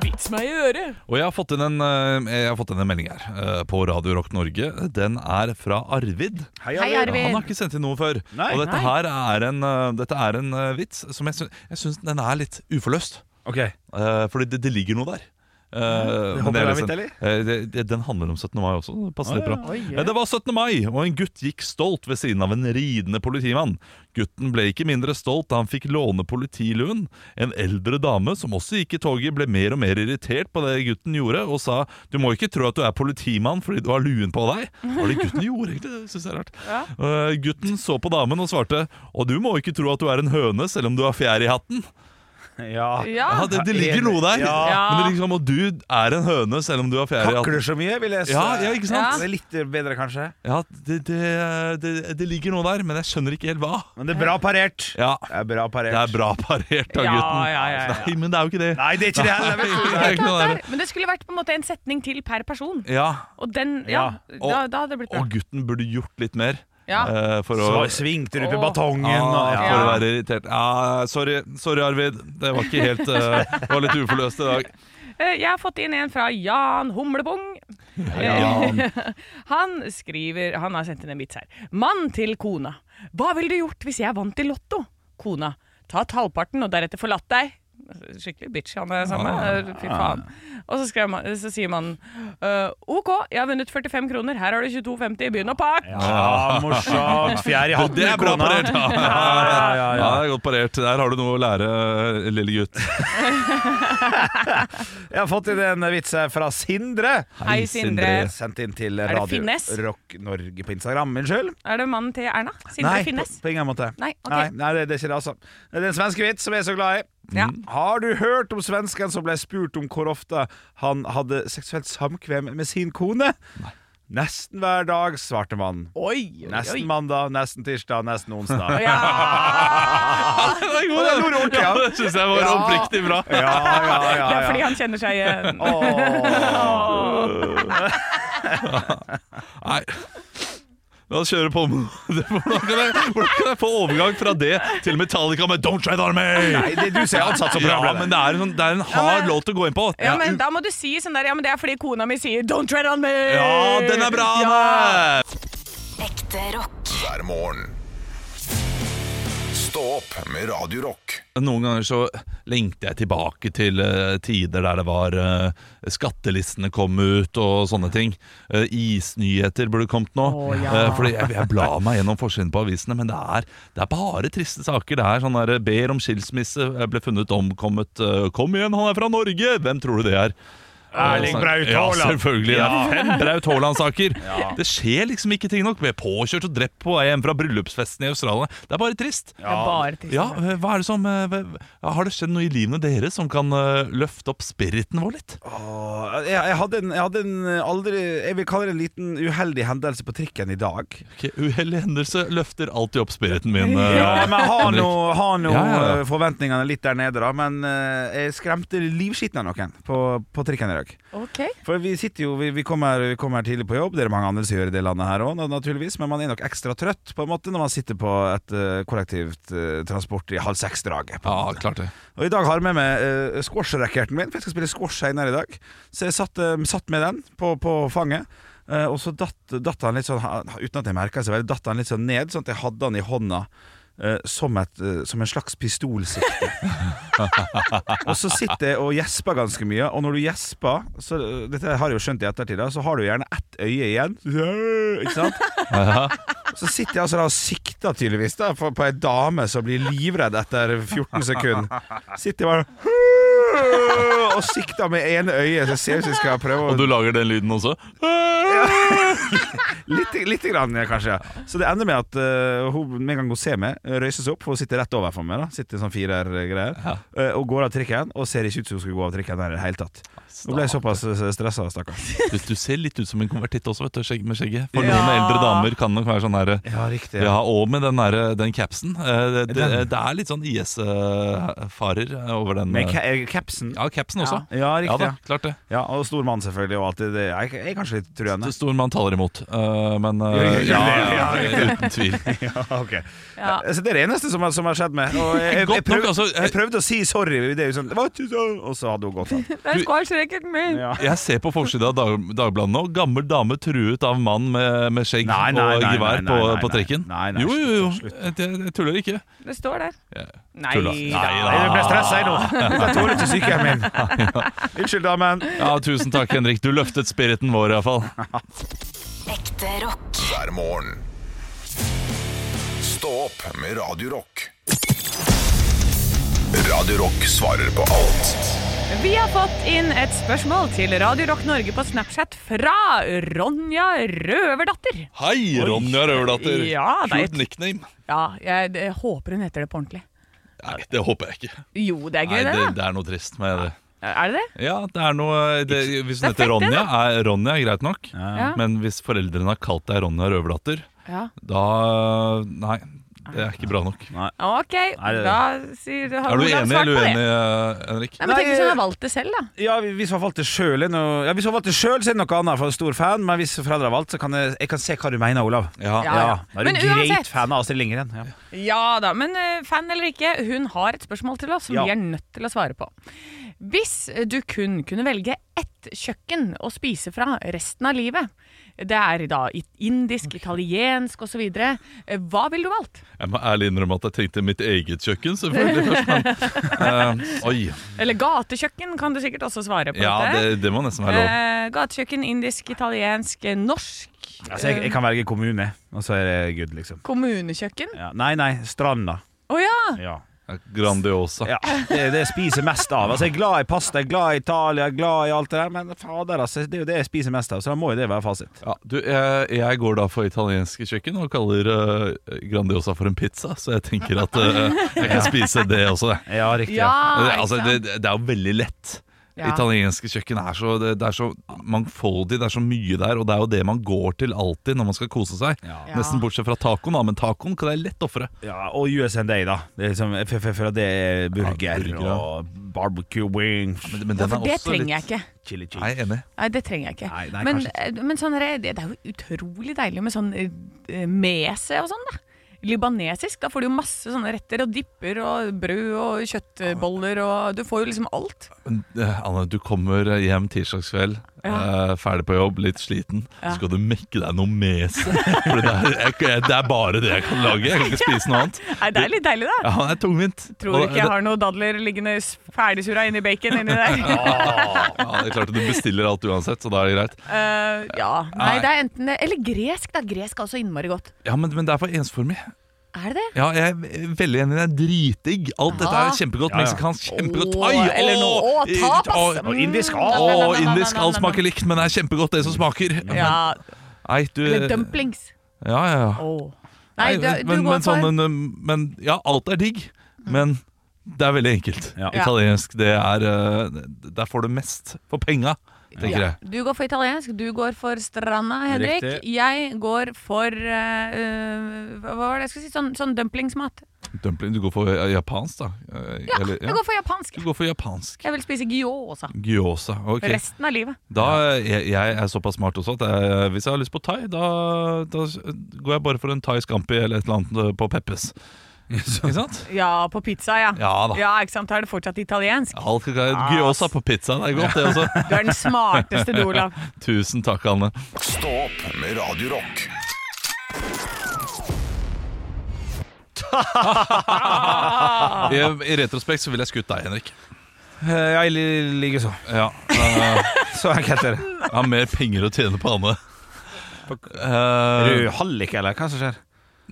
S4: Vits meg i øret.
S2: Og jeg har fått inn en, eh, jeg har fått inn en melding her eh, på Radio Rock Norge. Den er fra Arvid.
S4: Hei,
S2: Han har
S4: Arvid.
S2: ikke sendt inn noe før.
S3: Nei.
S2: og dette
S4: Nei.
S2: her er en, eh, dette er en eh, vits som jeg syns, jeg syns den er litt uforløst.
S3: Ok.
S2: Eh, fordi det, det ligger noe der. Eh, men
S3: håper
S2: det er
S3: det er
S2: liksom-
S3: mitt,
S2: eh, det, det, den handler om 17. mai også. Det passer litt bra. Eh, Det var 17. mai, og en gutt gikk stolt ved siden av en ridende politimann. Gutten ble ikke mindre stolt da han fikk låne politiluen. En eldre dame som også gikk i toget, ble mer og mer irritert på det gutten gjorde, og sa 'du må ikke tro at du er politimann fordi du har luen på deg'. Hva var det gutten gjorde, egentlig? Det synes jeg er rart. Eh, gutten så på damen og svarte 'og du må ikke tro at du er en høne selv om du har fjær i hatten'.
S3: Ja.
S4: Ja.
S2: Ja, det, det ligger noe der.
S3: Ja.
S2: Men det er liksom, og du er en høne selv om du har fjær i hatten.
S3: Kakler så mye, vil jeg si.
S2: Ja, ja, ikke sant?
S3: Det er litt bedre, kanskje.
S2: Ja, det, det, det, det ligger noe der, men jeg skjønner ikke helt hva.
S3: Men det er bra parert.
S2: Ja,
S3: Det er bra parert.
S2: Det er bra parert av
S4: Ja,
S2: gutten.
S4: ja, ja, ja.
S2: Nei, men det er jo ikke det.
S3: Nei, det er ikke det heller. vet du.
S2: Det er ikke noe der.
S4: Men det skulle vært på en måte en setning til per person.
S2: Ja,
S4: Og den Ja, da, da hadde det blitt bra.
S2: Og gutten burde gjort litt mer
S4: Ja.
S2: eh, for å
S3: Så svingte du på
S4: Åh.
S3: batongen.
S2: ja,
S3: og-
S2: for å være irritert. Ja, sorry, sorry, Arvid. Det var ikke helt eh, Det var litt uforløst i dag.
S4: Eh, Jeg har fått inn en fra Jan Humlebong.
S2: Ja.
S4: Han skriver Han har sendt inn en vits her. Mann til kona. Hva ville du gjort hvis jeg vant i Lotto? Kona. Tatt halvparten og deretter forlatt deg. Skikkelig bitch, han er
S3: Ah.
S4: sammen med. Fy faen. Og så, skrev man, så sier mannen «Øh, OK, jeg har vunnet 45 kroner. Her har du 22,50. Begynn å pakke.
S3: Ja, morsomt. Fjær i hatten.
S2: Det er bra
S3: kona.
S2: parert! Ja, ja, ja,
S3: Ja, ja,
S2: ja,
S3: ja.
S2: det er godt parert. Der har du noe å lære, lille gutt.
S3: Jeg har fått inn en vits her fra Sindre.
S4: Hei, Sindre.
S3: Eh, Sendt inn til
S4: det
S3: Radio
S4: Finnes?
S3: Rock Norge på Instagram. Unnskyld?
S4: Er det mannen til Erna? Sindre
S3: Nei,
S4: Finnes?
S3: På, på ingen måte.
S4: Nei, ok.
S3: nei, nei det, det er ikke det, altså. Det er en svenske vits som jeg er så glad i.
S4: Ja.
S3: Har du hørt om svensken som ble spurt om hvor ofte han hadde seksuelt samkvem med sin kone? Nesten hver dag, svarte mannen.
S4: Oi, oi,
S3: Nesten
S4: oi.
S3: mandag, nesten tirsdag, nesten onsdag.
S4: Ja.
S2: Det er
S3: Og
S2: god,
S3: det
S2: den.
S3: lo du ordentlig
S2: Ja,
S3: av.
S2: det syns jeg var
S3: Ja.
S2: oppriktig bra.
S3: Ja, ja, ja,
S4: Det er
S3: ja.
S4: fordi han kjenner seg eh, igjen.
S3: Åh.
S2: Nei. La oss kjøre på med hvordan kan, jeg, hvordan kan jeg få overgang fra det til Metallica med 'Don't Shade On
S3: Nei,
S2: Me'?
S3: det du ser ansatt som
S2: Ja,
S3: programleder.
S2: men det er en, sånn- det er en hard låt å gå inn på.
S4: Ja, men da må du si sånn der Ja, men det er fordi kona mi sier 'don't tread on me'.
S2: Ja, den er bra! Anne!
S6: Ekte rock.
S1: hver morgen. Stå opp med Radio Rock.
S2: Noen ganger så lengter jeg tilbake til eh, tider der det var eh, skattelistene kom ut og sånne ting. Eh, isnyheter burde kommet nå.
S4: Å, ja.
S2: Eh, fordi jeg, jeg blar meg gjennom forsiden på avisene, men det er, det er bare triste saker. Det er sånn der eh, ber om skilsmisse, eh, ble funnet omkommet. eh, Kom igjen, han er fra Norge! Hvem tror du det er? Eh,
S3: Erling Braut
S2: Ja,
S3: Haaland.
S2: selvfølgelig. Det er fem Braut Haaland-saker. Det skjer liksom ikke ting nok. Vi er påkjørt og drept på vei hjem fra bryllupsfesten i Australia. Det er bare trist.
S4: Det er bare trist.
S2: Ja, eh, hva er det som eh, hva- hva- Har det skjedd noe i livene deres som kan eh, løfte opp spiriten vår litt?
S3: Åh, jeg, jeg, hadde en, jeg hadde en aldri Jeg vil kalle det en liten uheldig hendelse på trikken i dag.
S2: Ok, Uhellig hendelse løfter alltid opp spiriten min. eh,
S3: Ja, men jeg har nå,
S2: Henrik.
S3: har nå
S2: Ja, ja, ja.
S3: eh, forventningene litt der nede, da. Men eh, jeg skremte livskiten av noen på, på trikken i dag.
S4: Ok.
S3: For vi sitter jo, vi, vi, kommer, vi kommer tidlig på jobb, det er mange andre som gjør i det landet her òg, naturligvis. Men man er nok ekstra trøtt på en måte når man sitter på et eh, kollektivt eh, transport i halv seks-draget. på en
S2: Ja,
S3: måte.
S2: klart det.
S3: Og i dag har jeg med meg uh, squash-racketen min, for jeg skal spille squash senere i dag. Så jeg satt, eh, satt med den på, på fanget. eh, og så datt, datt han litt sånn han- Uten at jeg merka det, datt han litt sånn ned, sånn at jeg hadde han i hånda eh, som, et, eh, som en slags pistolsikte. og så sitter jeg og gjesper ganske mye, og når du gjesper så, Dette har jeg jo skjønt i ettertid, da, så har du gjerne ett øye igjen. Ikke sant? Så sitter jeg altså da og sikter tydeligvis da, på, på ei dame som blir livredd etter 14 sekunder. Sitter jeg bare og sikter med ene øyet. Så jeg ser ut som jeg skal prøve
S2: Og du
S3: å
S2: lager den lyden også?
S3: Litt, litt grann, ja, kanskje. ja. Så det ender med at eh, hun med en gang hun ser meg, røyser seg opp, for hun sitter rett overfor meg. da Sitter i sånn firer-greier. eh, Og går av trikken, og ser ikke ut som hun skal gå av trikken der i det hele tatt. Nå ble jeg såpass stressa, stakkar.
S2: Du, du ser litt ut som en konvertitt også, vet du, skjegg- med skjegget. For
S4: Ja.
S2: noen eldre damer kan nok være sånn herre
S3: Ja, riktig.
S2: Ja, og med den, der, den capsen. Eh, Det, det, det er litt sånn IS-farer over den.
S3: Med
S2: eh,
S3: ca capsen.
S2: Ja, capsen også.
S3: Ja, riktig.
S2: da,
S3: Ja,
S2: klart det.
S3: ja, Og stor mann, selvfølgelig. Og alt det, det er, jeg er kanskje litt truende.
S2: Det står man taler imot, eh, men eh,
S3: Ja,
S2: ja,
S3: ja,
S2: ja, uten tvil.
S3: Ja, ok Eh,
S4: Ja.
S3: Så det er det eneste som har, som har skjedd meg. Og jeg, jeg, jeg,
S2: Godt nok,
S3: prøv,
S2: altså, jeg-
S3: jeg prøvde å si sorry, det er jo sånn, det var ikke sånn, og så hadde hun gått av.
S4: Det er squash-racketen min!
S3: Ja.
S2: Jeg ser på forsida av Dag, Dagbladet nå. Gammel dame truet av mann med, med skjegg
S3: Nei, nei,
S2: og
S3: nei,
S2: gevær
S3: nei,
S2: på,
S3: nei, nei,
S2: på trekken.
S3: nei, nei,
S2: jo, jo, jo.
S3: slutt,
S2: Jeg, jeg tuller ikke.
S4: Det står der.
S2: Jeg
S4: Nei
S2: tuller.
S4: da.
S3: Jeg ble stressa jeg nå. Jeg tåler ikke sykehjemmet min. Unnskyld, damen.
S2: Ja, tusen takk, Henrik. Du løftet spiriten vår, iallfall.
S6: Ekte rock.
S1: hver morgen. Stå opp med Radio Rock. Radio Rock svarer på alt
S4: Vi har fått inn et spørsmål til Radio Rock Norge på Snapchat fra Ronja Røverdatter.
S2: Hei, Ronja Røverdatter.
S4: Ja, det er et-
S2: Kult nickname.
S4: Ja, jeg jeg håper hun heter det på ordentlig.
S2: Nei, det håper jeg ikke.
S4: Jo, det er
S2: Nei,
S4: gøy, det,
S2: det,
S4: da.
S2: det er noe trist med det.
S4: Er det det?
S2: Ja, det er noe det, Hvis hun heter
S4: Det er fett, det,
S2: Ronja, er Ronja er greit nok.
S4: Ja.
S2: Men hvis foreldrene har kalt deg Ronja Røverdatter,
S4: Ja.
S2: da Nei, det er ikke bra nok.
S4: Ok,
S3: det-
S4: da sier har
S2: Er du
S4: Olav
S2: enig
S4: svart
S2: eller
S4: på det.
S2: uenig, eh, Henrik?
S4: Nei, men Tenk hvis
S3: Nei,
S4: hun har valgt det selv, da.
S3: Ja, Hvis hun har valgt det sjøl, ja, hvis hun har valgt det selv, så er det noe annet, for jeg er stor fan. Men hvis foreldre har valgt, så kan jeg, jeg kan se hva du mener, Olav.
S2: Ja.
S4: Ja, ja.
S3: Da er
S4: Men
S3: du greit
S4: uansett-
S3: fan av Astrid Lindgren. Ja.
S4: Ja da, men eh, fan eller ikke, hun har et spørsmål til oss som
S3: Ja.
S4: vi er nødt til å svare på. Hvis du kun kunne velge ett kjøkken å spise fra resten av livet, det er da i- indisk, italiensk osv., eh, hva ville du valgt?
S2: Jeg må ærlig innrømme at jeg tenkte mitt eget kjøkken, selvfølgelig. først men, eh, Oi.
S4: Eller gatekjøkken kan du sikkert også svare på.
S2: Ja,
S4: dette.
S2: det, det må nesten være lov.
S4: Eh, gatekjøkken, indisk, italiensk, eh, norsk, eh,
S3: Altså, jeg, jeg kan velge kommune, og så er det good, liksom.
S4: kommunekjøkken. Å
S3: Ja. Nei, nei, stranda.
S4: ja!
S3: Ja.
S2: Grandiosa.
S3: Ja, det, det jeg spiser mest av. Altså, jeg er glad i pasta, jeg er glad i Italia, jeg er glad i alt det der, men fader, altså, det er jo det jeg spiser mest av, så da må jo det være fasit.
S2: Ja, du, jeg, jeg går da for italienske kjøkken og kaller eh, Grandiosa for en pizza, så jeg tenker at eh, jeg kan spise det også. jeg.
S3: Ja, riktig.
S4: ja
S2: Det,
S4: Ah, ikke
S2: altså,
S4: sant?
S2: det, det er jo veldig lett.
S4: Ja.
S2: Italienske kjøkken er så, det, det er så mangfoldig, det er så mye der, og det er jo det man går til alltid når man skal kose seg.
S4: Ja.
S2: Nesten bortsett fra tacoen, da, men tacoen kan jeg lett ofre.
S3: Ja, og USA Day, da. Det er liksom, jeg f- f- føler at det er burger,
S2: burger, ja.
S3: og barbecue wings
S2: Men, men
S4: ja,
S2: den
S4: for
S2: er
S4: det
S2: også
S4: trenger
S2: litt
S4: jeg ikke.
S3: Chili cheese.
S2: Nei, jeg er enig.
S4: Nei, det trenger jeg ikke.
S3: Nei, nei,
S4: men
S3: kanskje
S4: eh, men sånn her, det det er jo utrolig deilig med sånn eh, mese og sånn, da. Libanesisk. Da får du jo masse sånne retter og dipper og brød og kjøttboller og Du får jo liksom alt.
S2: Men, eh, Anne, du kommer hjem tirsdagskveld, eh, ferdig på jobb, litt sliten. Så skal du mekke deg noe mes. For det, er- jeg- jeg- det er bare det jeg kan lage. Jeg kan ikke spise noe annet.
S4: Nei, det er litt deilig, da.
S2: Ja, han er tungvint.
S4: Tror ikke jeg har noe dadler liggende s- ferdigsura inni bacon inni der.
S2: Ja, det er klart at Du bestiller alt uansett, så da er det greit.
S4: Eh, ja. Nei, det er enten det Eller gresk, da. Gresk er også innmari godt.
S2: Ja, Men, men det er for ensformig.
S4: Er det det?
S2: Ja, jeg er veldig enig. Det er dritdigg. Alt dette er kjempegodt.
S3: Ja, ja.
S2: Meksikansk, kjempegodt.
S4: Åh,
S2: Ai, åh,
S4: eller noe- åh,
S2: eh,
S4: tapas. Mm.
S2: åh,
S3: Og indisk
S2: Å,
S3: al.
S2: indisk, alt smaker likt, men det er kjempegodt det som smaker.
S4: Ja,
S2: Nei, du
S4: eller
S2: Ja,
S4: dumplings.
S2: ja, ja.
S4: Åh.
S2: Nei,
S4: Nei, du, du
S2: men,
S4: går
S2: men,
S4: for
S2: sånn, en, um, men ja, alt er digg, men det er veldig enkelt.
S3: Ja.
S2: Italiensk, det er uh, Der får du mest for penga, tenker
S4: ja.
S2: jeg.
S4: Du går for italiensk, du går for stranda, Henrik.
S3: Riktig.
S4: Jeg går for eh, eh, Hva var det jeg skulle si? Sånn, sånn dumplingsmat.
S2: Dumpling, du går for eh, japansk, da? Eh,
S4: Ja,
S2: eller-
S4: jeg går for japansk.
S2: Du går for japansk.
S4: Jeg vil spise gyoza
S2: Gyoza. Ok.
S4: resten av livet.
S2: Da, eh, jeg, jeg er såpass smart også at jeg, hvis jeg har lyst på thai, da, da s- går jeg bare for en thai scampi eller et eller annet eh, på Peppes. Ikke sant?
S4: Ja, på pizza, ja.
S2: Ja da.
S4: ikke sant? Da er det fortsatt italiensk.
S2: Alt skal Gyoza på pizza, det er godt, det også.
S4: Du er den smarteste, du, Olav.
S2: Tusen takk, Anne.
S1: Stå opp med Radio Rock.
S2: I, I retrospekt så ville jeg skutt deg, Henrik.
S3: Eh, Jeg liker så.
S2: Ja, eh,
S3: Så enkelt er det.
S2: Jeg har mer penger å tjene på Anne.
S3: Er
S2: Eh,
S3: du hallik, eller hva som skjer?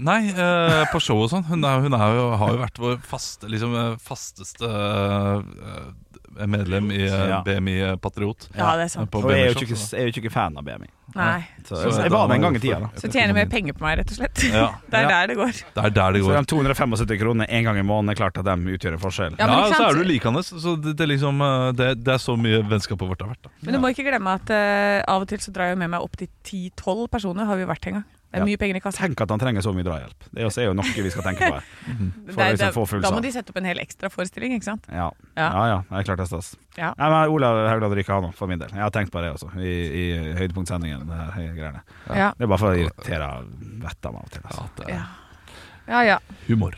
S2: nei, eh, på show og sånn. Hun, er, hun er jo, har jo vært vår faste, liksom, eh, fasteste eh, medlem i eh,
S3: Ja.
S2: BMI Patriot.
S4: Ja, det er
S2: eh,
S4: sant.
S2: på
S3: Og jeg er jo
S2: BMI
S3: ikke,
S2: Shop, så-
S3: jeg er jo ikke fan av BMI.
S4: Nei.
S3: Så,
S2: Så da
S3: jeg
S2: må
S3: var det en gang
S2: vi
S3: i tida, da.
S2: få-
S4: Så tjener mer penger på meg, rett og slett.
S2: Ja.
S4: Det er
S3: Ja.
S4: der det går.
S2: Det er der det
S3: Så
S2: går.
S3: de 275 kronene en gang i måneden er klart at de utgjør en forskjell.
S2: Ja,
S4: Ja, men ikke
S2: så
S4: sant?
S2: er du likende. Så det, det, er liksom, eh, det, det er så mye vennskapet vårt har vært. Da.
S4: Men du må ikke glemme at eh, av og til så drar jeg med meg opptil 10-12 personer, har vi vært en gang. Det er
S3: Ja.
S4: mye penger i kassa.
S3: Tenk at han trenger så mye drahjelp. Det er også- er jo noe vi skal tenke på her. For å
S4: Det er-
S3: liksom
S4: det-
S3: få full
S4: da må
S3: sal.
S4: de sette opp en hel ekstra forestilling, ikke sant?
S3: Ja,
S4: Ja.
S3: ja, ja det er klart det er stas.
S4: Ja.
S3: Nei, men Olav Haugland ryker av nå, for min del. Jeg har tenkt på det også, i, i høydepunktsendingen. Det, her, høye greiene.
S4: Ja.
S3: det er bare for å irritere vettet av meg av og til. Altså.
S2: At det
S4: Ja.
S2: er
S4: Ja, ja.
S2: humor.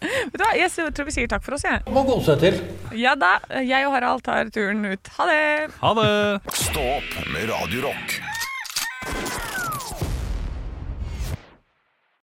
S4: Vet du hva, jeg s- tror vi sier takk for oss, jeg. Må gå seg til. Ja da. Jeg og Harald tar turen ut. Ha det.
S2: Ha det!
S1: Stå opp med Radio Rock.